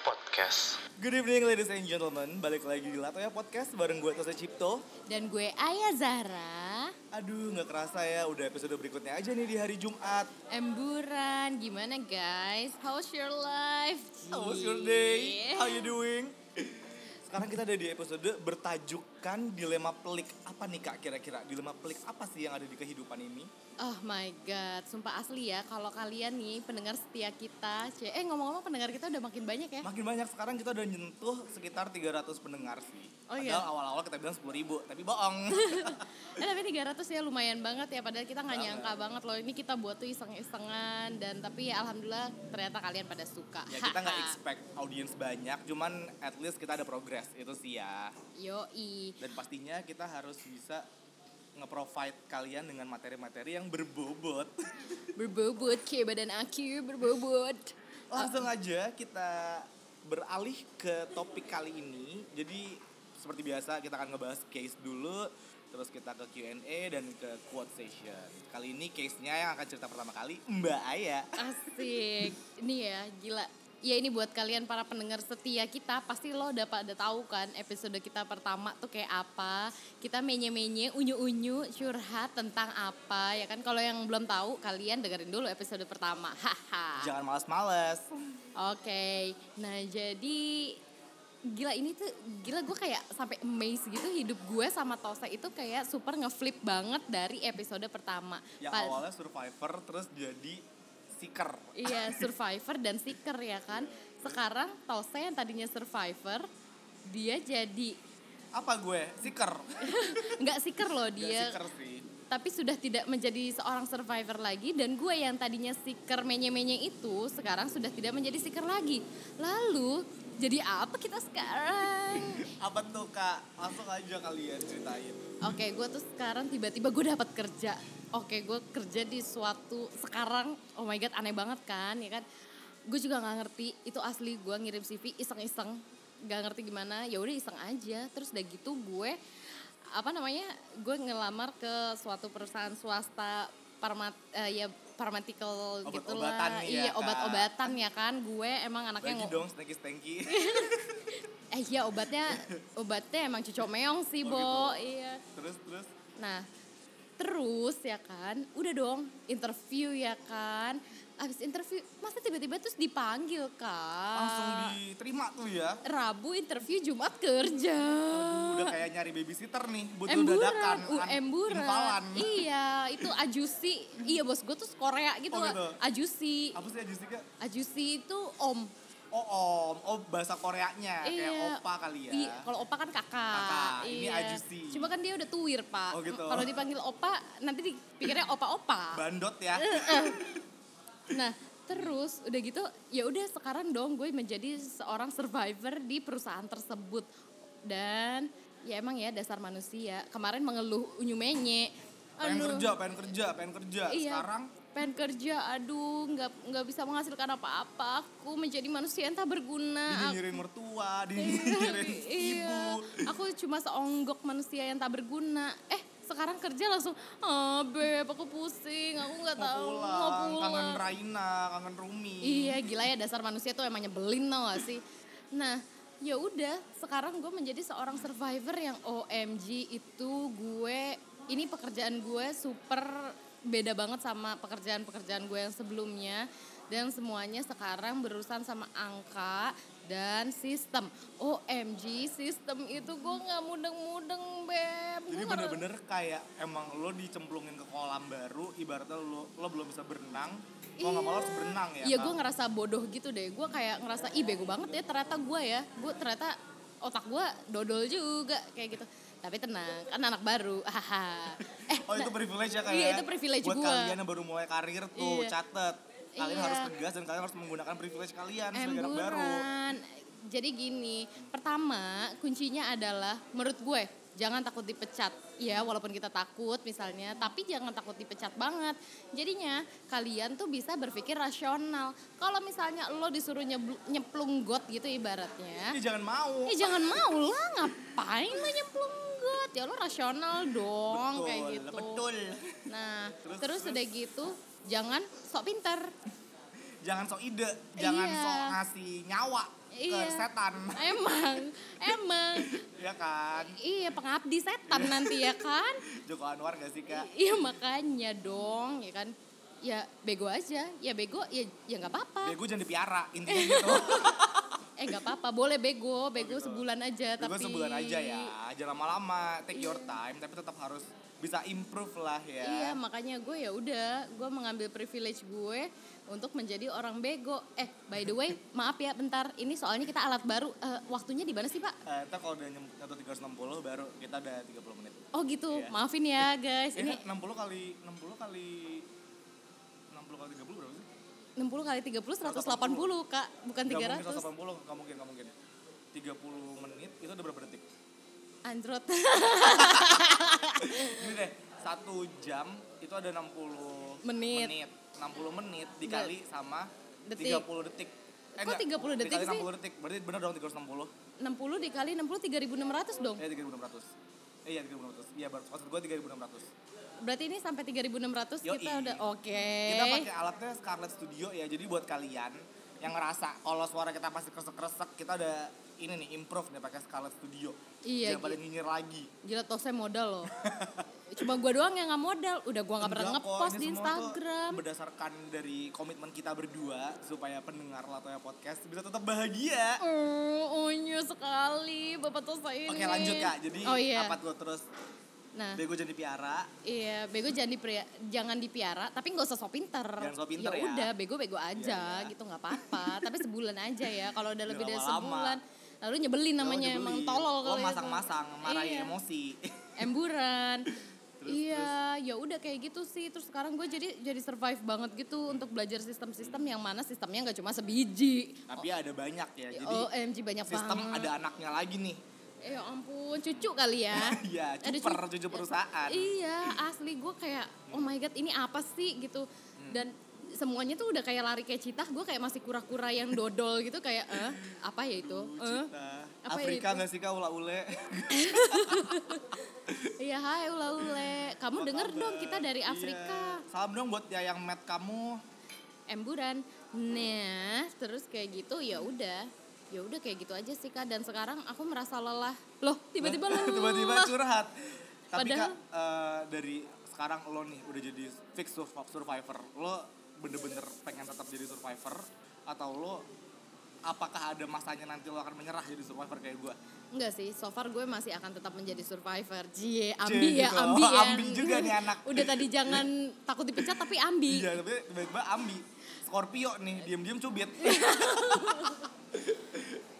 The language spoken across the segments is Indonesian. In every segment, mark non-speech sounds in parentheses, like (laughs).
Podcast. Good evening ladies and gentlemen, balik lagi di Latoya Podcast bareng gue Tose Cipto. Dan gue Aya Zara. Aduh nggak kerasa ya, udah episode berikutnya aja nih di hari Jumat. Emburan, gimana guys? How's your life? How was your day? How you doing? Sekarang kita ada di episode bertajukan dilema pelik apa nih kak kira-kira? Dilema pelik apa sih yang ada di kehidupan ini? Oh my god, sumpah asli ya kalau kalian nih pendengar setia kita. C- Eh ngomong-ngomong pendengar kita udah makin banyak ya. Makin banyak sekarang kita udah nyentuh sekitar 300 pendengar sih. Oh Padahal iya? awal-awal kita bilang 10 ribu, tapi (laughs) bohong. Eh tapi 300 ya lumayan banget ya padahal kita nggak nyangka banget loh ini kita buat tuh iseng-isengan dan tapi ya alhamdulillah ternyata kalian pada suka. ya kita nggak expect audiens banyak, cuman at least kita ada progress itu sih ya. Yoi. dan pastinya kita harus bisa nge-provide kalian dengan materi-materi yang berbobot. (laughs) Berbobot kayak badan aku berbobot. Langsung aja kita beralih ke topik kali ini. Jadi seperti biasa kita akan ngebahas case dulu, terus kita ke Q&A dan ke quote session. Kali ini case-nya yang akan cerita pertama kali Mbak Aya. Asik. Ini ya, gila. Ya ini buat kalian para pendengar setia kita pasti lo udah pada tahu kan episode kita pertama tuh kayak apa. Kita menye-menye, unyu-unyu, curhat tentang apa ya kan. Kalau yang belum tahu kalian dengerin dulu episode pertama. (laughs) Haha. Jangan males-males. Oke. Nah, jadi gila ini tuh gila gue kayak sampai amazed gitu hidup gue sama Tose itu kayak super ngeflip banget dari episode pertama. Yang Pas- awalnya survivor terus jadi seeker. Iya, survivor dan seeker ya kan. Sekarang Tose yang tadinya survivor, dia jadi Apa gue? Seeker. nggak seeker loh Nggak dia, seeker sih. tapi sudah tidak menjadi seorang survivor lagi dan gue yang tadinya seeker menye-menye itu sekarang sudah tidak menjadi seeker lagi. Lalu jadi apa kita sekarang? Apa tuh kak? Langsung aja kalian ceritain. Oke, gue tuh sekarang tiba-tiba gue dapat kerja. Oke, gue kerja di suatu sekarang. Oh my god, aneh banget kan, ya kan? Gue juga nggak ngerti. Itu asli gue ngirim CV iseng-iseng, nggak ngerti gimana. Ya udah iseng aja. Terus udah gitu gue apa namanya? Gue ngelamar ke suatu perusahaan swasta parmat eh, ya pharmaceutical gitu Obat-obatan lah. ya, iya, Kak. obat-obatan ya kan. Gue emang anaknya Bagi ngo- dong snacky snacky. (laughs) eh iya obatnya obatnya emang cucok meong sih, Oh, Bo. gitu. Iya. terus terus Nah, terus ya kan, udah dong interview ya kan. Abis interview, masa tiba-tiba terus dipanggil kak. langsung diterima tuh ya. Rabu interview, Jumat kerja. Udah kayak nyari babysitter nih, butuh dadakan. kan, Emburan, uh, an- emburan. impalan. Iya, itu ajusi. iya bos, gue tuh Korea gitu. Oh, loh. gitu. Ajusi. Apa sih Jessica? Ajusi itu om. Oh om, oh bahasa Koreanya kayak opa kali ya. Iya, kalau opa kan kakak. Kakak, ini Iya. ajusi. Cuma kan dia udah tuwir, Pak. Oh, gitu. Kalau dipanggil opa, nanti dipikirnya (laughs) opa-opa. Bandot ya. Eh, Nah, terus udah gitu ya udah sekarang dong gue menjadi seorang survivor di perusahaan tersebut. Dan ya emang ya dasar manusia. Kemarin mengeluh unyu menye. (laughs) pengen Aduh, kerja, pengen kerja, pengen kerja. anu. Iya. Sekarang pengen kerja, aduh nggak nggak bisa menghasilkan apa-apa. Aku menjadi manusia yang tak berguna. (laughs) dinyinyirin mertua, dinyinyirin ibu. Ah, iya, aku cuma seonggok manusia yang tak berguna. Eh, sekarang kerja langsung, ah beb, aku pusing, aku nggak Mau tahu pulang, kangen Raina, kangen Rumi. Iya gila ya dasar manusia tuh emang nyebelin tau gak sih. Nah ya udah sekarang gue menjadi seorang survivor yang OMG itu gue ini pekerjaan gue super beda banget sama pekerjaan-pekerjaan gue yang sebelumnya dan semuanya sekarang berurusan sama angka dan sistem. OMG sistem itu gue nggak mudeng-mudeng beb. Gua Jadi nggak- bener-bener kayak emang lo dicemplungin ke kolam baru, ibaratnya lo lo belum bisa berenang, mau nggak mau lo harus berenang ya. Iya Kak? gue ngerasa bodoh gitu deh Gue kayak ngerasa ih bego banget ya ternyata gue ya Gue ternyata otak gue dodol juga kayak gitu Tapi tenang kan anak baru (laughs) haha. Eh Oh itu privilege ya kayak. Iya, itu privilege Buat gua. kalian yang baru mulai karir tuh Iya. catet. Kalian Iya. harus tegas dan kalian harus menggunakan privilege kalian Kan sebagai anak baru. emburan Jadi gini Pertama kuncinya adalah menurut gue Jangan takut dipecat Ya walaupun kita takut misalnya Tapi jangan takut dipecat banget Jadinya kalian tuh bisa berpikir rasional Kalau misalnya lo disuruh nyebl- nyemplung got gitu Ih, ibaratnya jangan mau. Ya jangan mau lah, ngapain lo nyemplung got? Ya lo rasional dong betul, kayak gitu. betul. Nah, Terus, terus, udah gitu jangan sok pinter. jangan sok ide, jangan Iya. sok ngasih nyawa Iya. ke setan. (laughs) Emang, emang. ya kan? Iya, pengabdi setan nanti ya kan? Joko Anwar gak sih kak? Iya makanya dong, ya kan? Ya bego aja, ya bego, ya ya nggak apa-apa. Bego jangan dipiara, intinya gitu. (laughs) Eh nggak apa-apa, boleh bego, bego gitu. sebulan aja Bego tapi. sebulan aja ya, jangan lama-lama, take your time, tapi tetap harus bisa improve lah ya. Iya makanya gue ya udah, gue mengambil privilege gue untuk menjadi orang bego. Eh by the (laughs) way, maaf ya bentar, ini soalnya kita alat baru. Eh, waktunya di mana sih pak? Eh, ntar kalau udah nyem- atau 360 baru kita udah 30 menit. Oh gitu, Iya. maafin ya guys. Ini (laughs) Ini 60 kali 60 kali 60 kali 30 berapa sih? 60 kali 30 180 kak, bukan Nggak mungkin 300. 180, nggak mungkin, nggak mungkin. 30 menit itu udah berapa detik? (laughs) Android. Gini deh, satu jam itu ada 60 Menit. 60 menit dikali sama Detik. 30 detik. Eh, Kok 30 detik dikali sih? 60 detik. Berarti benar dong 360. 60 dikali 60 3600 dong. Eh 3600. Eh iya 3600. Iya, baru maksud gua 3600. Berarti ini sampai 3600 Yoi. kita udah oke. Kita pakai alatnya Scarlett Studio ya. Jadi buat kalian yang ngerasa kalau suara kita pasti kresek-kresek, kita udah ini nih improve nih pakai Scarlett Studio. Iya, Jangan pada nyinyir lagi. Gila tosnya modal loh. (laughs) Cuma gua doang yang nggak modal. Udah gua nggak pernah Enggak kok, ngepost ini di semua tuh Instagram. Berdasarkan dari komitmen kita berdua supaya pendengar Latoya Podcast bisa tetap bahagia. Oh, onyo sekali Bapak Tosa ini. Oke lanjut kak, jadi oh, iya. apa tuh terus Nah, bego jadi piara iya, bego jangan dipria, jangan dipiara, tapi nggak usah sok pinter. Jangan sok pinter ya. udah, bego-bego aja Iya, iya. gitu nggak apa-apa, (laughs) tapi sebulan aja ya. Kalau udah lebih dari lama-lama. sebulan, lalu nyebelin namanya Lo emang nyebelin. tolol Lo kalau itu. masang-masang, marahin Iya. emosi (laughs) emburan iya ya udah kayak gitu sih terus sekarang gue jadi jadi survive banget gitu untuk belajar sistem-sistem yang mana sistemnya nggak cuma sebiji Hmm. Tapi ada banyak ya, jadi OMG oh, eh, banyak sistem banget ada anaknya lagi nih eh ya ampun cucu kali ya (laughs) Iya, Ada cuper, cucu- cucu perusahaan iya asli gue kayak oh my god ini apa sih gitu Hmm. dan semuanya tuh udah kayak lari kayak citah gue kayak masih kura-kura yang dodol gitu kayak eh apa ya itu Aduh, Eh? Cita. Apa Afrika itu? gak sih kak ula-ule? iya hai ula ule kamu Apa denger kabar? dong kita dari Iya. Afrika Salam dong buat ya yang met kamu Iya. emburan nah terus kayak gitu ya udah ya udah kayak gitu aja sih kak dan sekarang aku merasa lelah loh tiba-tiba lelah (laughs) Tiba-tiba curhat Tapi kak, Padahal- eh, dari sekarang lo nih udah jadi fix surv- survivor Lo bener-bener pengen tetap jadi survivor Atau lo apakah ada masanya nanti lo akan menyerah jadi survivor kayak gue? enggak sih so far gue masih akan tetap menjadi survivor cie ambi ya gitu. ambi ya Ambi juga nih anak. (laughs) udah tadi jangan takut dipecat tapi ambi Iya, tapi tiba-tiba ambi Scorpio nih, diam-diam cubit Terus,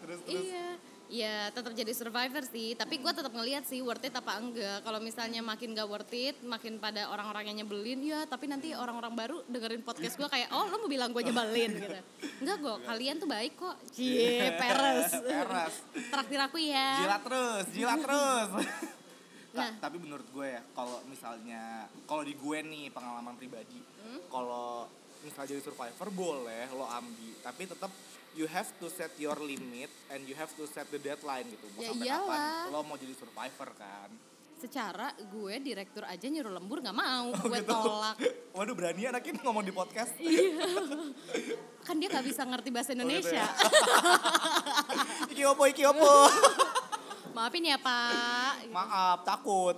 terus Iya, iya tetap jadi survivor sih. Tapi gue tetap ngelihat sih worth it apa enggak. Kalau misalnya makin gak worth it, makin pada orang-orang yang nyebelin, ya tapi nanti orang-orang baru dengerin podcast gue kayak, oh lo mau bilang gue nyebelin (laughs) gitu. Enggak kok, kalian tuh baik kok. Cie, peres. Iya, (laughs) Peres. Traktir aku ya. jilat terus, jilat (laughs) terus. Ta- Nah. tapi menurut gue ya, kalau misalnya kalau di gue nih pengalaman pribadi, Hmm? kalau misalnya jadi survivor boleh lo ambil, tapi tetap you have to set your limit and you have to set the deadline gitu. Mau Ya sampai iyalah. kapan lo mau jadi survivor kan? Secara gue direktur aja nyuruh lembur nggak mau, Oh, gue gitu. tolak. Iya. Waduh berani ya anak ini ngomong di podcast. Kan dia gak bisa ngerti bahasa Oh, gitu (laughs) ya. Indonesia. iki opo, iki opo. (laughs) Maafin ya Pak. Maaf, takut.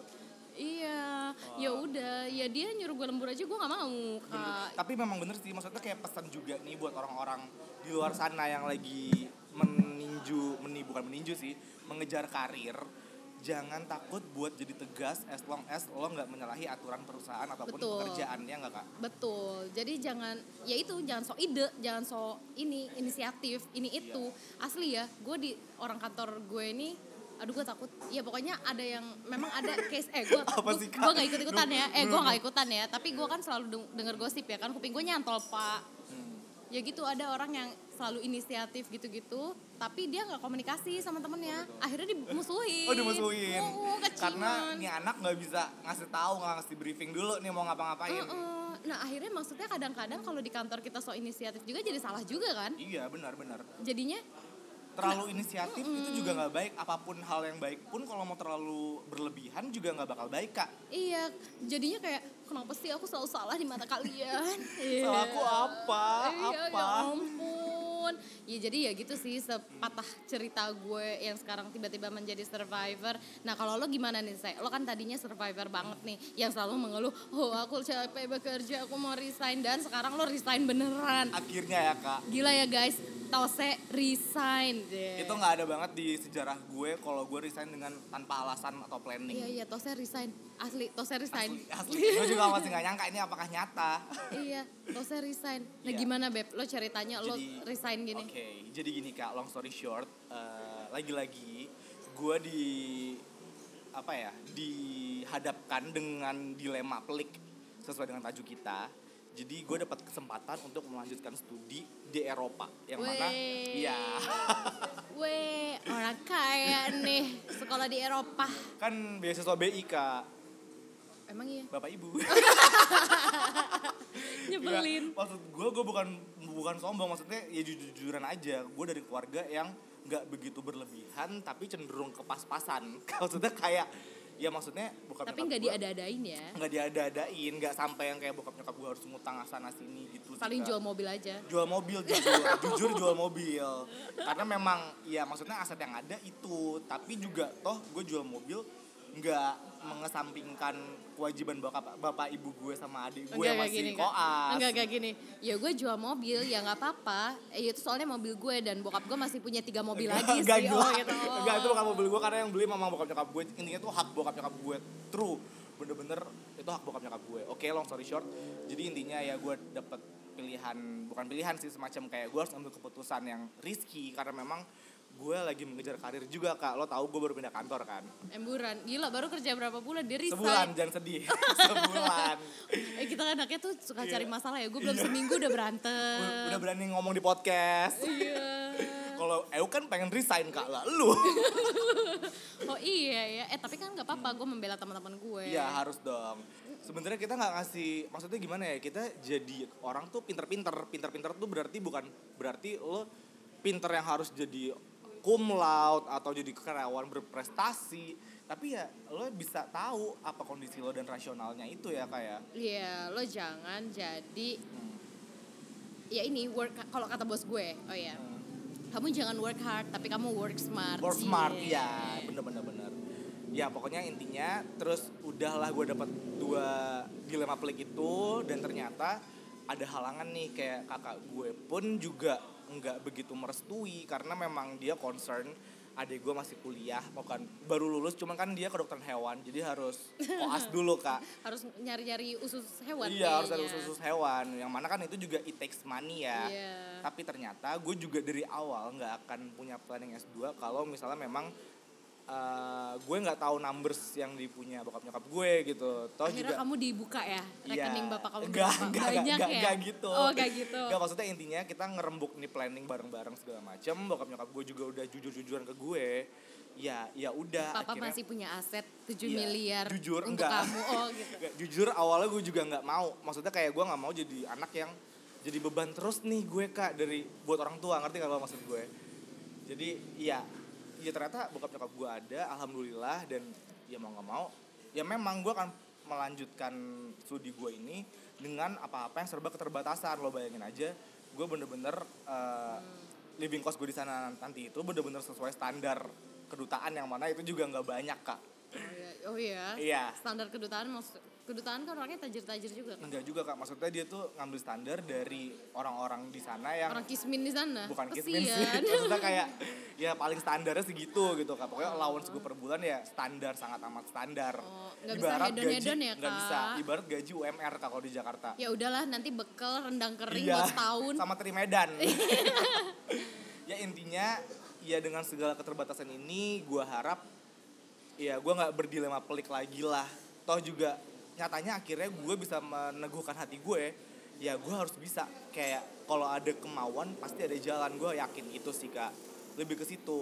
Iya, ya udah, ya dia nyuruh gue lembur aja gue nggak mau. Kak. gitu. Tapi memang bener sih, maksudnya kayak pesan juga nih buat orang-orang di luar sana yang lagi meninju, meni, bukan meninju sih, mengejar karir. Jangan takut buat jadi tegas as long as lo nggak menyalahi aturan perusahaan ataupun Betul. pekerjaannya nggak kak? Betul. Jadi jangan ya itu jangan sok ide, jangan sok ini inisiatif, ini itu. Iya. Asli ya, gue di orang kantor gue ini aduh gue takut ya pokoknya ada yang memang ada case eh gue (laughs) Apa sih, Kak? gue gak ikut ikutan Duh, ya eh duh, gue duh. gak ikutan ya tapi gue kan selalu deng- denger gosip ya kan kuping gue nyantol pak Hmm. ya gitu ada orang yang selalu inisiatif gitu-gitu tapi dia nggak komunikasi sama temennya akhirnya dimusuhin Oh dimusuhin Oh, karena kecingan. nih anak nggak bisa ngasih tahu nggak ngasih briefing dulu nih mau ngapa-ngapain. Heeh. Nah akhirnya maksudnya kadang-kadang kalau di kantor kita so inisiatif juga jadi salah juga kan? Iya benar-benar. Jadinya terlalu inisiatif itu juga nggak baik apapun hal yang baik pun kalau mau terlalu berlebihan juga nggak bakal baik kak Iya, jadinya kayak kenapa sih aku selalu salah di (laughs) mata kalian? Iya. Salah aku apa? Iya, Apa? ya ampun. Ya jadi ya gitu sih sepatah cerita gue yang sekarang tiba-tiba menjadi survivor. Nah kalau lo gimana nih saya? Lo kan tadinya survivor banget nih, yang selalu mengeluh, oh aku capek bekerja, aku mau resign dan sekarang lo resign beneran. akhirnya ya kak Gila ya guys, Tose resign deh. itu nggak ada banget di sejarah gue kalau gue resign dengan tanpa alasan atau planning Iya iya Tose resign, asli Tose resign. asli, asli. gue juga masih nggak nyangka ini apakah nyata iya, Tose resign. Nah Iya. gimana Beb, lo ceritanya lo Jadi- resign gini? Oke, jadi gini kak, long story short, eh, lagi-lagi gue di apa ya dihadapkan dengan dilema pelik sesuai dengan tajuk kita. Jadi gue dapat kesempatan untuk melanjutkan studi di Eropa, yang mana, Wey. iya Weh, orang kaya nih sekolah di Eropa. kan beasiswa BI kak, Emang iya? bapak (laughs) ibu. Nggak, Nyebelin. maksud gue, gue bukan bukan sombong. Maksudnya ya jujur-jujuran aja. Gue dari keluarga yang nggak begitu berlebihan, tapi cenderung kepas-pasan. (laughs) Maksudnya kayak, ya maksudnya bukan. Iya. Tapi nggak diada-adain ya. Nggak diada-adain, nggak sampai yang kayak bokap nyokap gue harus ngutang sana sini gitu. sih, Kak. Paling jual mobil aja. jual mobil (laughs) jujur, jujur jual mobil. Karena memang ya maksudnya aset yang ada itu, tapi juga toh gue jual mobil nggak mengesampingkan kewajiban bapak bapak ibu gue sama adik gue yang Enggak kayak masih gini koas. kan. Enggak kayak gini. Ya gue jual mobil ya nggak apa-apa. Eh, itu soalnya mobil gue dan bokap gue masih punya tiga mobil lagi Nah, sih. Enggak oh, gila. gitu. Oh. Enggak, itu bukan mobil gue karena yang beli memang bokap nyokap gue. Intinya itu hak bokap nyokap gue. True. Bener-bener itu hak bokap nyokap gue. Oke, long story short. Jadi intinya ya gue dapet pilihan, bukan pilihan sih semacam kayak gue harus ambil keputusan yang risky karena memang gue lagi mengejar karir juga kak lo tahu gue baru pindah kantor kan Emburan. Gila baru kerja berapa bulan dia resign. sebulan jangan sedih (laughs) sebulan Eh kita kan anaknya tuh suka Iya. cari masalah ya. Gue belum seminggu udah berantem. (laughs) udah berani ngomong di podcast Iya. kalau Eu kan pengen resign kak lah lu Oh iya ya. Eh tapi kan nggak apa-apa. Gue membela teman-teman gue. Iya harus dong. Sebenarnya kita nggak ngasih, maksudnya gimana ya? Kita jadi orang tuh pinter-pinter, pinter-pinter tuh berarti bukan berarti lo pinter yang harus jadi cum laude atau jadi karyawan berprestasi. Tapi ya lo bisa tahu apa kondisi lo dan rasionalnya itu ya kayak. Iya, lo jangan jadi ya ini work kalau kata bos gue. Oh iya. Kamu jangan work hard, tapi kamu work Hmm. smart. Iya, Work smart, Cie. ya bener-bener bener. Ya pokoknya intinya terus udahlah gue dapat dua dilema pelik itu dan ternyata ada halangan nih kayak kakak gue pun juga nggak begitu merestui karena memang dia concern adik gue masih kuliah bukan baru lulus cuman kan dia kedokteran hewan jadi harus koas dulu kak Harus nyari-nyari usus hewan. Iya harus ada kayaknya. usus hewan Yang mana kan itu juga it takes money ya Iya. Tapi ternyata gue juga dari awal nggak akan punya planning S2 Kalau misalnya memang eh, gue nggak tahu numbers yang dipunya bokap nyokap gue gitu Toh juga Akhirnya kamu dibuka ya Iya. rekening bapak kamu Nggak, berapa? nggak, banyak nggak, ya. nggak gitu. Oh, gak gitu. Nggak, maksudnya intinya kita ngerembuk nih planning bareng-bareng segala macem Bokap nyokap gue juga udah jujur-jujuran ke gue Ya ya udah Papa akhirnya masih punya aset 7 Iya, miliar jujur untuk enggak. kamu. Oh, (laughs) gitu. Nggak, jujur awalnya gue juga nggak mau maksudnya kayak gue nggak mau jadi anak yang jadi beban terus nih gue kak dari buat orang tua ngerti gak lo maksud gue jadi iya ya ternyata bokap nyokap gue ada alhamdulillah dan ya mau nggak mau ya memang gue akan melanjutkan studi gue ini dengan apa-apa yang serba keterbatasan lo bayangin aja gue bener-bener eh, living cost gue di sana nanti itu bener-bener sesuai standar kedutaan yang mana itu juga nggak banyak kak Oh, iya. Oh, iya. Iya. Standar kedutaan maksud kedutaan kan orangnya tajir-tajir juga kan. Enggak juga kak, maksudnya dia tuh ngambil standar dari orang-orang di sana yang Orang kismin di sana. Iya. bukan kismin sih. (laughs) Kesian. Maksudnya kayak ya paling standarnya segitu gitu kak. Pokoknya allowance gue per bulan ya standar sangat amat standar. Oh, nggak bisa hedon-hedon ya, nggak bisa. Kak? Ibarat gaji UMR kak kalau di Jakarta. (laughs) ya udahlah nanti bekal rendang kering Iya, buat setahun Iya. Sama teri (laughs) Medan. ya intinya ya dengan segala keterbatasan ini gue harap ya gue nggak berdilema pelik lagi lah. Toh juga nyatanya akhirnya gue bisa meneguhkan hati gue. Ya gue harus bisa kayak kalau ada kemauan pasti ada jalan gue yakin itu sih kak. Lebih ke Hmm. situ.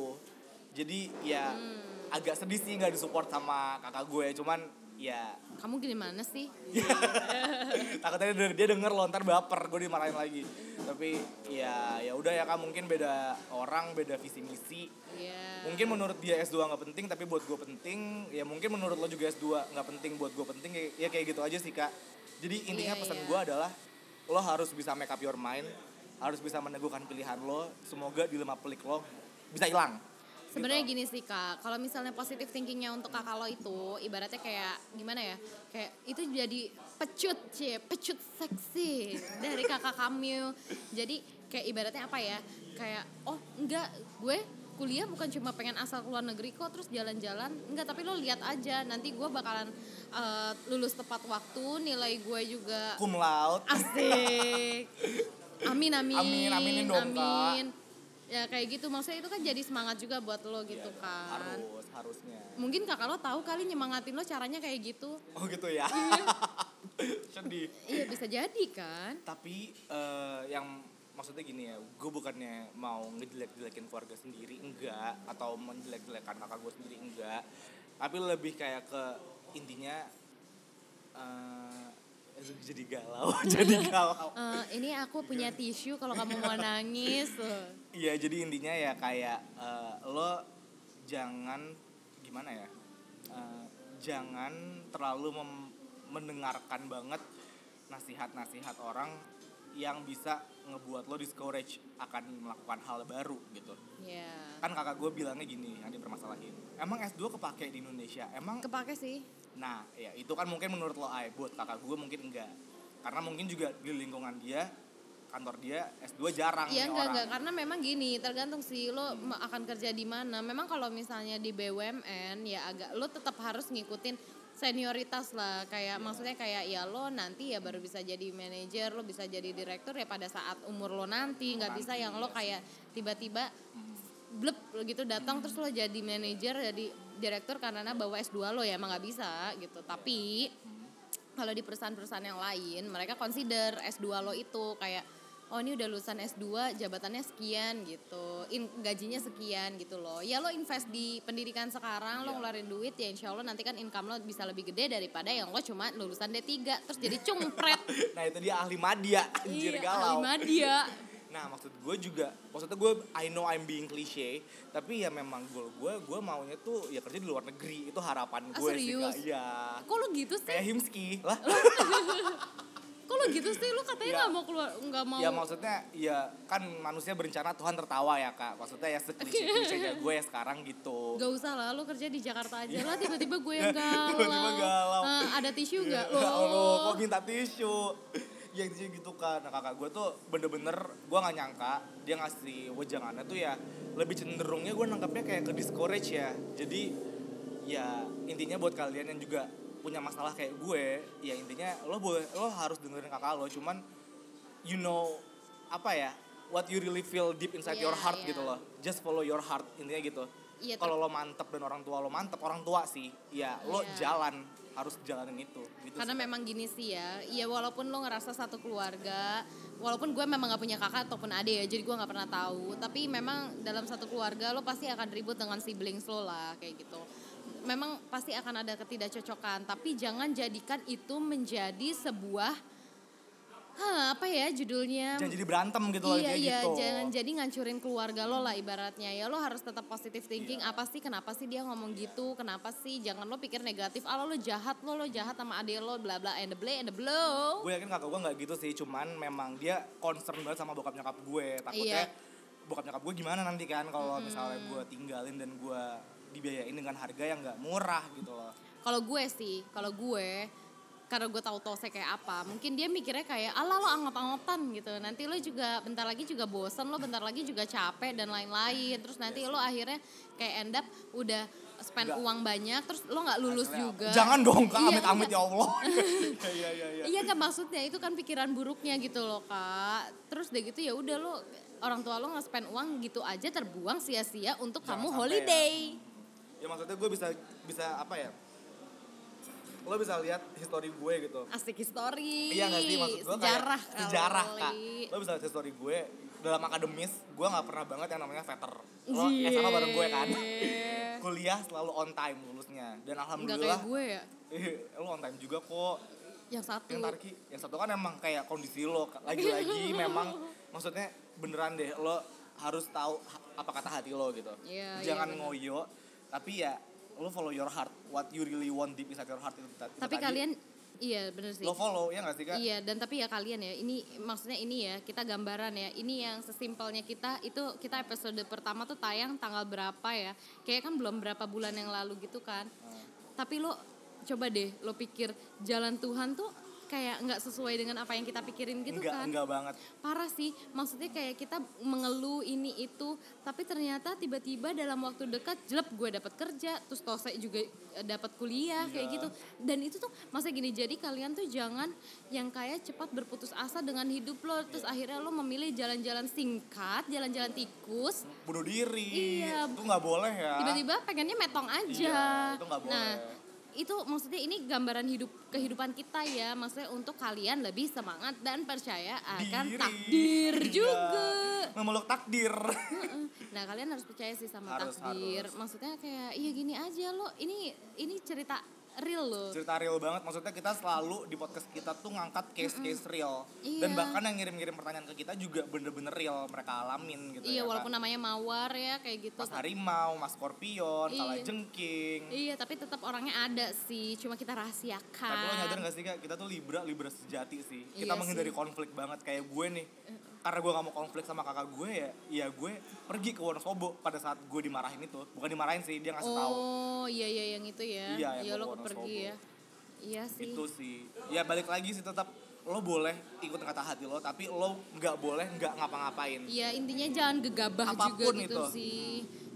Jadi ya agak sedih sih nggak disupport sama kakak gue. Cuman ya Kamu gimana sih? (laughs) takutnya dia, dia denger lontar baper gue dimarahin lagi tapi ya ya udah ya kan mungkin beda orang beda visi misi Iya. mungkin menurut dia S2 nggak penting tapi buat gue penting ya mungkin menurut lo juga S2 nggak penting buat gue penting ya, ya kayak gitu aja sih kak jadi intinya Iya, pesan iya. gue adalah lo harus bisa make up your mind harus bisa meneguhkan pilihan lo semoga dilema pelik lo bisa hilang Sebenarnya Gitu. gini sih kak, kalau misalnya positive thinkingnya untuk kakak lo itu, ibaratnya kayak gimana ya, kayak itu jadi pecut cie, pecut seksi dari kakak kamu. Jadi kayak ibaratnya apa ya, kayak oh enggak gue kuliah bukan cuma pengen asal keluar negeri kok terus jalan-jalan enggak tapi lo lihat aja nanti gue bakalan eh, lulus tepat waktu nilai gue juga cum laude Asik. Amin amin. Amin, aminin dong, Kak. Amin. Ya kayak gitu maksudnya itu kan jadi semangat juga buat lo Ya, gitu kan. harus harusnya Mungkin kakak lo tahu kali nyemangatin lo caranya kayak gitu. oh gitu ya (laughs) sedih Iya bisa jadi kan. tapi eh, yang maksudnya gini ya gue bukannya mau ngejelek-jelekin keluarga sendiri enggak atau menjelek-jelekan kakak gue sendiri enggak tapi lebih kayak ke intinya eh jadi galau (laughs) jadi galau Eh, ini aku punya tisu kalau kamu mau nangis. tuh. Iya jadi intinya ya kayak eh, lo jangan gimana ya eh, jangan terlalu mem- mendengarkan banget nasihat-nasihat orang yang bisa ngebuat lo discourage akan melakukan hal baru gitu Ya. kan kakak gue bilangnya gini yang dipermasalahin emang S2 kepake di Indonesia emang Kepake sih. Nah, ya itu kan mungkin menurut lo ay, buat kakak gue mungkin enggak. Karena mungkin juga di lingkungan dia, kantor dia S2 jarang Iya nih enggak orang. enggak karena memang gini tergantung sih lo ma- akan kerja di mana. Memang kalau misalnya di BUMN ya agak lo tetap harus ngikutin senioritas lah kayak Iya. maksudnya kayak ya lo nanti ya baru bisa jadi manajer lo bisa jadi direktur ya pada saat umur lo nanti nggak bisa Nanti, yang lo iya Hmm. kayak tiba-tiba blep lo gitu datang terus lo jadi manajer jadi direktur karena bawa S2 lo ya emang nggak bisa gitu Iya. tapi kalau di perusahaan-perusahaan yang lain mereka consider S2 lo itu kayak oh ini udah lulusan S2 jabatannya sekian gitu in, gajinya sekian gitu loh ya lo invest di pendidikan sekarang lo Iya. ngeluarin duit ya insya Allah nanti kan income lo bisa lebih gede daripada yang lo cuma lulusan D3 terus jadi cungpret Nah, itu dia ahli madya, (laughs) anjir Iya, galau. ahli dia Nah, maksud gue juga, maksudnya gue I know I'm being cliche, tapi ya memang goal gue, gue maunya tuh ya kerja di luar negeri, itu harapan Ah, gue sih. serius? Kak. Iya. kok lo gitu Kayak sih Himski lah. kok lo gitu sih lo Iya. katanya nggak mau keluar nggak mau Ya maksudnya ya kan manusia berencana Tuhan tertawa ya kak. Maksudnya ya seklice-klicenya (laughs) gue ya sekarang gitu. Gak usah lah, lo kerja di Jakarta aja lah. Tiba-tiba gue yang galau. Iya. (laughs) Tiba-tiba galau. Eh, ada tisu nggak? Oh. Ya Allah, Loh. kok minta tisu? Ya gitu, gitu kan. Nah kakak gue tuh bener-bener, gue gak nyangka dia ngasih wejangannya tuh ya lebih cenderungnya gue nangkepnya kayak ke discourage ya. Jadi ya intinya buat kalian yang juga punya masalah kayak gue, ya intinya lo boleh, lo harus dengerin kakak lo. Cuman you know apa ya, what you really feel deep inside Iya, your heart iya. gitu loh. Just follow your heart intinya gitu. Iya, Kalau lo mantep dan orang tua lo mantep, orang tua sih, ya lo Iya. jalan harus jalanin itu. Gitu Karena sih. memang gini sih ya, ya walaupun lo ngerasa satu keluarga, walaupun gue memang gak punya kakak ataupun adik ya, jadi gue gak pernah tahu. Tapi memang dalam satu keluarga lo pasti akan ribut dengan siblings lo lah, kayak gitu. Memang pasti akan ada ketidakcocokan, tapi jangan jadikan itu menjadi sebuah, Hah, apa ya judulnya? jangan jadi berantem gitu loh intinya iya iya gitu. jangan jadi ngancurin keluarga lo lah ibaratnya ya lo harus tetap positive thinking Iya. apa sih kenapa sih dia ngomong gitu kenapa sih jangan lo pikir negatif ah lo lo jahat lo lo jahat sama adik lo bla bla and the bleh and the blow Gue yakin kakak gue nggak gitu sih, cuman memang dia concern banget sama bokap nyokap gue. Iya. Takutnya bokap nyokap gue gimana nanti kan kalau misalnya gue tinggalin dan gue dibiayain dengan harga yang nggak murah gitu loh. kalau gue sih kalau gue karena gue tahu tose kayak apa mungkin dia mikirnya kayak ala lo anggap-anggapan gitu nanti lo juga bentar lagi juga bosen lo bentar lagi juga capek dan lain-lain terus nanti lo akhirnya kayak end up udah spend Nggak. uang banyak terus lo nggak lulus Akhirnya apa? juga Jangan dong kak, Iya, amit-amit ya (laughs) Allah. (laughs) Iya iya iya. iya. Iya gak maksudnya itu kan pikiran buruknya gitu loh kak. Terus udah gitu ya udah lo orang tua lo nggak spend uang gitu aja terbuang sia-sia untuk Jangan kamu sampai holiday. Ya maksudnya gue bisa bisa apa ya? Lo bisa lihat history gue gitu. Asik history. Iya gak sih maksud gue sejarah kayak, sejarah kak. kali. Lo bisa lihat history gue dalam akademis gue nggak pernah banget yang namanya veter. Lo Iya. SMA bareng gue kan. kuliah selalu on time lulusnya dan Enggak kayak alhamdulillah gue ya. eh, lu on time juga kok Yang satu. yang Tarki yang satu kan emang kayak kondisi lo (laughs) lagi-lagi memang maksudnya beneran deh lo harus tahu ha- apa kata hati lo gitu Iya, iya, jangan bener. ngoyo tapi ya lo follow your heart what you really want deep inside your heart itu, ta- itu Tapi tadi. kalian iya bener sih. lo follow ya nggak sih kak Iya, dan tapi ya kalian ya, ini maksudnya ini ya, kita gambaran ya. Ini yang sesimpelnya kita itu kita episode pertama tuh tayang tanggal berapa ya? Kayak kan belum berapa bulan yang lalu gitu kan. Tapi lo coba deh lo pikir jalan Tuhan tuh kayak nggak sesuai dengan apa yang kita pikirin gitu enggak kan. enggak banget Parah sih, maksudnya kayak kita mengeluh ini itu, tapi ternyata tiba-tiba dalam waktu dekat jelek gue dapat kerja, terus tosek juga eh, dapat kuliah kayak Iya. gitu. Dan itu tuh maksudnya gini, jadi kalian tuh jangan yang kayak cepat berputus asa dengan hidup lo, terus Iya. akhirnya lo memilih jalan-jalan singkat, jalan-jalan tikus, bunuh diri Iya. itu nggak boleh ya tiba-tiba pengennya metong aja. Iya, itu nggak boleh. Nah, itu maksudnya ini gambaran hidup kehidupan kita ya, maksudnya untuk kalian lebih semangat dan percaya akan Diri. kan takdir Iya. juga. memeluk takdir Heeh. Nah, kalian harus percaya sih sama Harus, takdir. harus. Maksudnya kayak iya gini aja lo. Ini ini cerita real lo. cerita real banget maksudnya kita selalu di podcast kita tuh ngangkat case-case real dan Iya. bahkan yang ngirim-ngirim pertanyaan ke kita juga bener-bener real mereka alamin gitu ya, Iya, Kak. walaupun namanya mawar ya kayak gitu. Mas Harimau, Mas Scorpion, Iya. Salah Jengking. Iya, tapi tetap orangnya ada sih. Cuma kita rahasiakan. Tapi lo nyadar gak sih kak, kita tuh Libra, Libra sejati sih Kita kan? Iya menghindari sih. Uh-uh. konflik banget kayak gue nih Karena gue gak mau konflik sama kakak gue ya Ya gue pergi ke Wonosobo pada saat gue dimarahin itu Bukan dimarahin sih, dia ngasih tahu Oh, iya iya yang itu ya. Iya, yang lo bawa Wonosobo. pergi ya. Iya sih. Itu sih Ya balik lagi sih tetap lo boleh ikut kata hati lo Tapi lo gak boleh gak ngapa-ngapain Iya intinya jangan gegabah Apapun juga gitu itu. sih.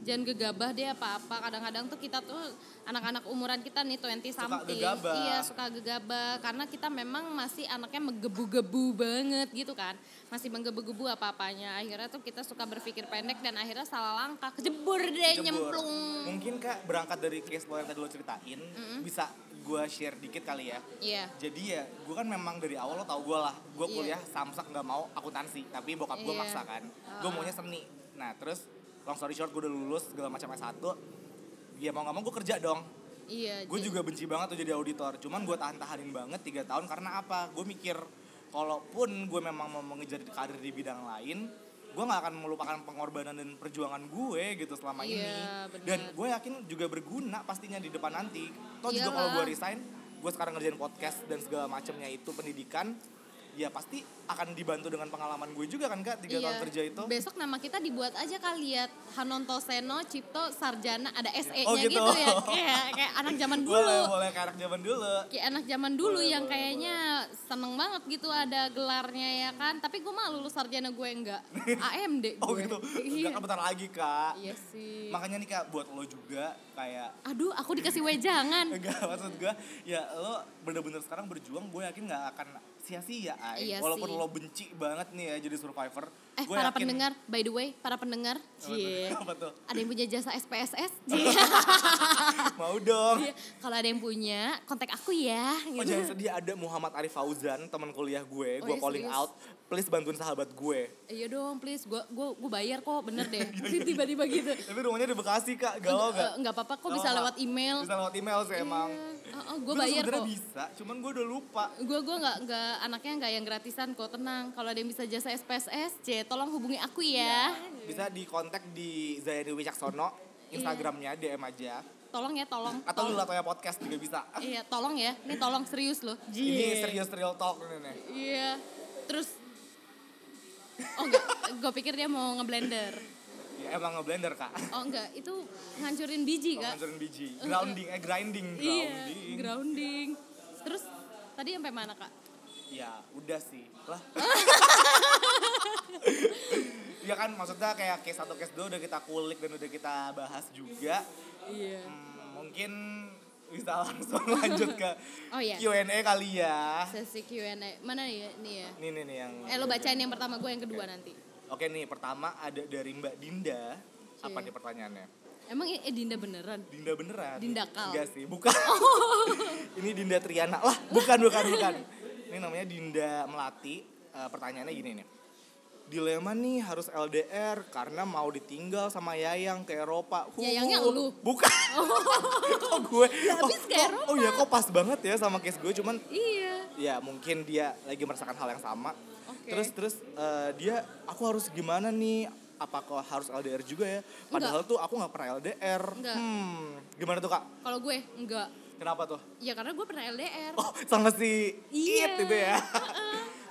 Jangan gegabah deh apa-apa. Kadang-kadang tuh kita tuh anak-anak umuran kita nih 20 something. gegabah. Iya suka gegabah karena kita memang masih anaknya menggebu-gebu banget gitu kan. Masih menggebu-gebu apa-apanya. Akhirnya tuh kita suka berpikir pendek dan akhirnya salah langkah. Kejebur deh Jebur. Iya, nyemplung. Mungkin kak berangkat dari case lo yang tadi lo ceritain Bisa gue share dikit kali ya Iya. jadi ya gue kan memang dari awal lo tau gue lah gue Iya. kuliah samsak nggak mau akuntansi tapi bokap gue Iya. maksa kan gue maunya seni nah terus long story short gue udah lulus segala macam S1 ya mau nggak mau gue kerja dong Iya. gue jadi- juga benci banget tuh jadi auditor cuman gue tahan tahanin banget tiga tahun karena apa gue mikir kalaupun gue memang mau mengejar karir di bidang lain gue nggak akan melupakan pengorbanan dan perjuangan gue gitu selama Iya, ini benar. dan gue yakin juga berguna pastinya di depan nanti toh juga kalau Iyalah. gue resign gue sekarang ngerjain podcast dan segala macamnya itu pendidikan ya pasti akan dibantu dengan pengalaman gue juga kan kak tiga tahun iya. kerja itu Besok nama kita dibuat aja kali ya Hanonto Seno Cipto Sarjana ada SE-nya Oh, gitu. gitu. ya. (laughs) Kayak kayak anak zaman dulu. boleh boleh kayak anak zaman dulu kayak anak zaman dulu Boleh, yang boleh, kayaknya seneng banget gitu ada gelarnya ya kan tapi gue mah lulus sarjana gue enggak AMD gue (laughs) oh gitu iya. Enggak, bentar lagi kak Iya sih makanya nih kak buat lo juga kayak (laughs) aduh aku dikasih wejangan enggak maksud gue ya lo bener-bener sekarang berjuang gue yakin nggak akan sia-sia Ay. Iya walaupun sih. lo benci banget nih ya jadi survivor eh gue para yakin- (laughs) pendengar by the way para pendengar Apa tuh? cie (laughs) Apa Oh, tuh? ada yang punya jasa SPSS (laughs) cie mau dong Iya. kalau ada yang punya kontak aku ya Oh gitu. jangan sedih ada Muhammad Arif Fauzan teman kuliah gue, Oh, gue iya, calling serius? out, please bantuin sahabat gue. iya dong please gue gue gue bayar kok bener (laughs) deh tiba-tiba gitu Tapi rumahnya di Bekasi kak, galau Eh, Iya, gak? nggak apa-apa kok Galau bisa nggak? lewat email Bisa lewat email sih emang. Iya. Oh, oh, gue tuh bayar sebenarnya kok bisa, cuman gue udah lupa. gue gue nggak nggak anaknya nggak yang gratisan kok tenang kalau ada yang bisa jasa SPSS C tolong hubungi aku ya Bisa di kontak di Zayani Wicaksono, Iya. Instagramnya DM aja. tolong ya tolong Atau lu Tol- Latoya Podcast juga bisa. iya tolong ya ini tolong serius loh Ini Jie. serius real talk nih nih. iya terus oh enggak gue pikir dia mau ngeblender Ya, emang ngeblender kak. oh enggak itu ngancurin biji kak Ngancurin biji. Grounding, eh grinding, iya Oh, grounding. grounding terus tadi sampai mana kak Ya udah sih lah. ya kan maksudnya kayak case satu case dua udah kita kulik dan udah kita bahas juga. iya Hmm, mungkin bisa langsung (laughs) lanjut ke Oh, iya. Q&A kali ya. sesi Q&A mana ya nih ya Nih nih nih yang. eh lo bacain yang pertama gue yang kedua Oke. nanti Oke nih pertama ada dari Mbak Dinda. Apa Oke. nih pertanyaannya? emang ini- eh, Dinda beneran Dinda beneran. Dinda Kal. Oh. Enggak sih, bukan. (laughs) Ini Dinda Triana. Lah, bukan, bukan, bukan. Ini namanya Dinda Melati. Eh, pertanyaannya gini nih. dilema nih harus LDR karena mau ditinggal sama Yayang ke Eropa. Huh, Yayangnya lu? Oh. Bukan. (laughs) kok gue? habis oh, ke kok- Eropa. Oh iya kok pas banget ya sama case gue cuman Iya. ya mungkin dia lagi merasakan hal yang sama. Oke. Terus terus eh, dia aku harus gimana nih? Apakah harus LDR juga ya? Padahal tuh aku nggak pernah LDR. Enggak. Hmm, gimana tuh kak? Kalau gue enggak. Kenapa tuh? (laughs) Ya karena gue pernah LDR. Oh sama si Iya. It itu ya?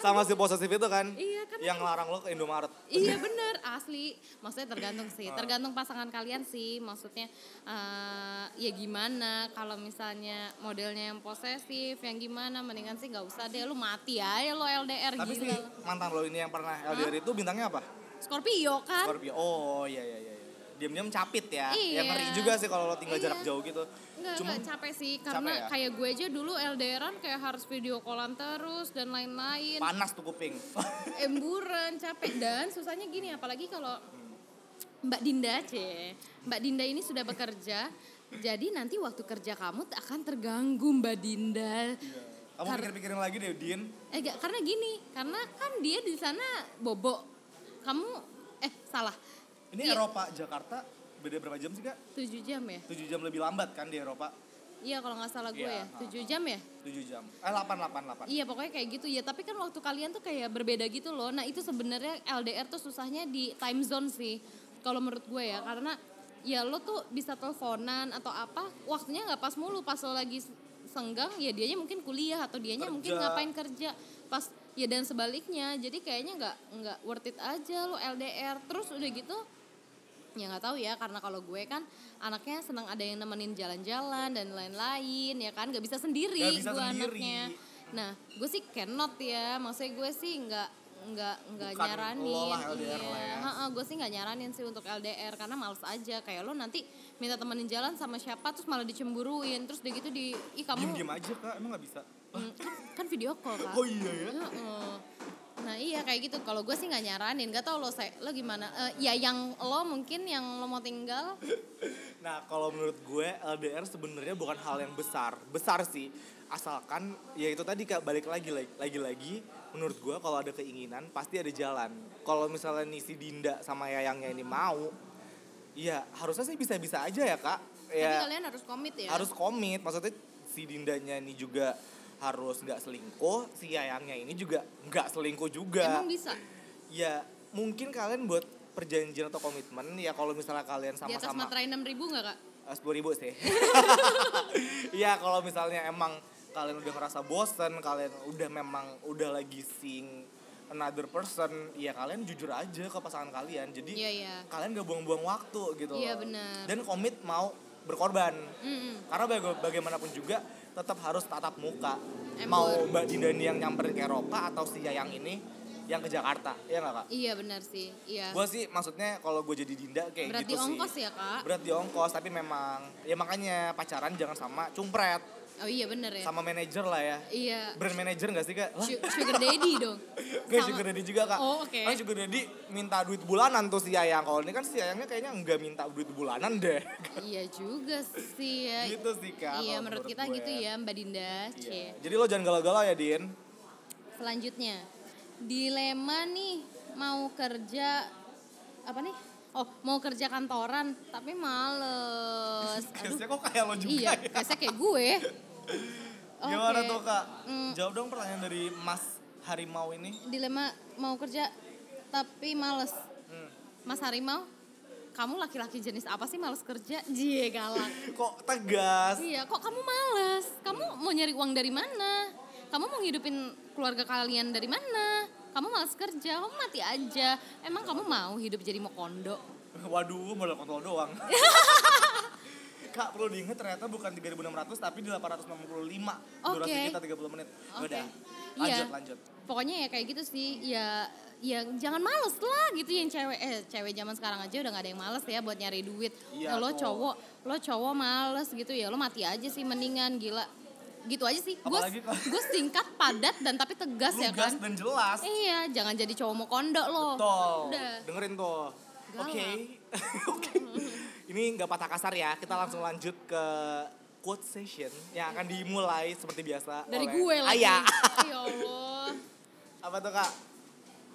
sama si posesif itu kan? Iya, kan Yang larang lo ke Indomaret. Iya bener asli maksudnya tergantung sih Ah. tergantung pasangan kalian sih maksudnya eh, ya gimana kalau misalnya modelnya yang posesif yang gimana mendingan sih nggak usah deh lu mati aja lu LDR Tapi si gila mantan lo ini yang pernah LDR itu bintangnya apa? Scorpio kan Scorpio. Oh iya iya iya. Diam-diam capit ya. Ya Iya. ngeri juga sih kalau lo tinggal Iya. jarak jauh gitu. Enggak, Cuma enggak capek sih karena ya? kayak gue aja dulu LDRan kayak harus video callan terus dan lain-lain panas tuh kuping. (laughs) emburan capek dan susahnya gini apalagi kalau Mbak Dinda c Mbak Dinda ini sudah bekerja jadi nanti waktu kerja kamu t- akan terganggu Mbak Dinda Kamu Kar- pikir-pikirin lagi deh, Din. eh enggak, karena gini karena kan dia di sana bobo kamu eh salah Ini Iya. Eropa Jakarta beda berapa jam sih, Kak? 7 jam ya 7 jam lebih lambat kan di Eropa? iya kalau nggak salah gue Iya, ya 7 jam ya 7 jam. Eh 8 8 8. Iya pokoknya kayak gitu ya. Tapi kan waktu kalian tuh kayak berbeda gitu loh. Nah itu sebenarnya LDR tuh susahnya di time zone sih. Kalau menurut gue ya karena ya lo tuh bisa teleponan atau apa waktunya nggak pas mulu pas lo lagi senggang ya dianya mungkin kuliah atau dianya mungkin Kerja. ngapain kerja pas ya dan sebaliknya jadi kayaknya nggak nggak worth it aja lo LDR terus udah gitu ya nggak tahu ya karena kalau gue kan anaknya senang ada yang nemenin jalan-jalan dan lain-lain ya kan nggak bisa sendiri Nggak bisa gue sendiri. anaknya nah gue sih cannot ya maksudnya gue sih nggak nggak nggak Bukan nyaranin lo lah LDR lah iya ya. Heeh, gue sih nggak nyaranin sih untuk LDR karena males aja kayak lo nanti minta temenin jalan sama siapa terus malah dicemburuin terus udah gitu di ih kamu Diam-diam aja, Kak. Emang nggak bisa. Mm, kan, kan video call kan Oh iya ya. Heeh. Nah iya kayak gitu. Kalau gue sih nggak nyaranin. Gak tau lo saya lo gimana? Eh, ya yang lo mungkin yang lo mau tinggal. Nah, kalau menurut gue LDR sebenarnya bukan hal yang besar. Besar sih, asalkan ya itu tadi Kak balik lagi lagi- lagi-lagi menurut gue kalau ada keinginan pasti ada jalan. Kalau misalnya nih si Dinda sama Yayangnya ini mau, ya harusnya sih bisa-bisa aja ya, Kak. Tapi Ya kalian harus komit ya. harus komit. Maksudnya si Dindanya ini juga harus nggak selingkuh, si Yayangnya ini juga nggak selingkuh juga Emang gitu? bisa. ya mungkin kalian buat perjanjian atau komitmen ya kalau misalnya kalian Di atas sama-sama Eh, materai enam ribu nggak kak? sepuluh ribu sih (laughs) ya kalau misalnya emang kalian udah ngerasa bosen kalian udah memang udah lagi seeing another person ya kalian jujur aja ke pasangan kalian jadi Iya, iya. kalian gak buang-buang waktu gitu Iya, loh. benar. dan komit mau berkorban Mm-mm. karena baga- bagaimanapun juga tetap harus tatap muka Embur. mau mbak Dindani yang nyamperin ke Eropa atau si Yayang ini yang ke Jakarta ya nggak kak Iya benar sih. Iya. gue sih maksudnya kalau gue jadi dinda kayak Berarti gitu sih ongkos ya kak? berat di ongkos tapi memang ya makanya pacaran jangan sama cumpret Oh iya benar ya. sama manajer lah ya Iya. brand manager gak sih kak lah (laughs) Su- Sugar daddy dong. Gak Sama- sugar daddy juga kak Oh, oke. Kan sugar daddy minta duit bulanan tuh si Yayang Kalau ini kan si Yayangnya kayaknya nggak minta duit bulanan deh (laughs) Iya juga sih ya. Gitu sih kak Iya kalau menurut kita gue. gitu ya Mbak Dinda. C. Iya. Jadi lo jangan galau-galau ya Din Selanjutnya, dilema nih mau kerja apa nih? Oh, mau kerja kantoran tapi (laughs) males. Aduh, Case-nya kok kayak lo juga iya, ya biasanya kayak gue. (laughs) Gimana Oke. tuh kak? Mm. Jawab dong pertanyaan dari Mas Harimau ini Dilema mau kerja tapi males. Hmm. Mas Harimau, kamu laki-laki jenis apa sih males kerja? Jie galak. Kok tegas? Iya, kok kamu males? Kamu mau nyari uang dari mana? Kamu mau ngidupin keluarga kalian dari mana? Kamu males kerja, kamu mati aja. Emang kamu mau hidup jadi mokondo? Waduh, modal kontol (laughs) doang. Kak, perlu diingat ternyata bukan 3600 tapi di 865. Durasi Oke. kita 30 menit. Oke. Udah. Iya. Lanjut, lanjut. Pokoknya ya kayak gitu sih, ya yang jangan males lah gitu yang cewek eh cewek zaman sekarang aja udah gak ada yang males ya buat nyari duit Ya Iya, lo tuh. cowok lo cowok males gitu ya lo mati aja sih mendingan gila gitu aja sih gue Apalagi kalau- gue singkat padat dan tapi tegas ya Lugas kan dan jelas. iya jangan jadi cowok mau kondo lo Tol. udah Dengerin tuh. Galak. Oke. (laughs) Oke. Ini nggak patah kasar ya. Kita langsung lanjut ke quote session yang akan dimulai seperti biasa Dari oleh (laughs) gue lagi. Aya. Ya Allah. Apa tuh, Kak?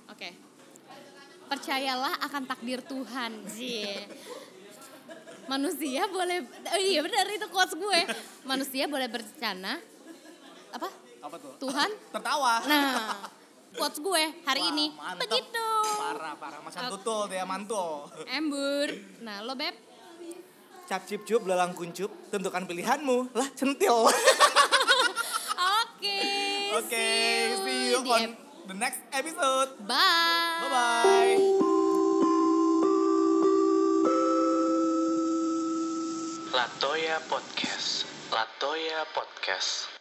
Oke. percayalah akan takdir Tuhan Cie. manusia boleh oh iya benar itu quotes gue manusia boleh berencana apa Apa tuh? Tuhan Tertawa. nah quotes gue hari Wah, ini mantep. begitu Parah, parah. Mas tutul dia mantul. embur nah lo beb Cap cip cup belalang kuncup, tentukan pilihanmu. Lah, centil. oke Oke, see you di on ep- the next episode. bye Bye-bye. Latoya Podcast. Latoya Podcast.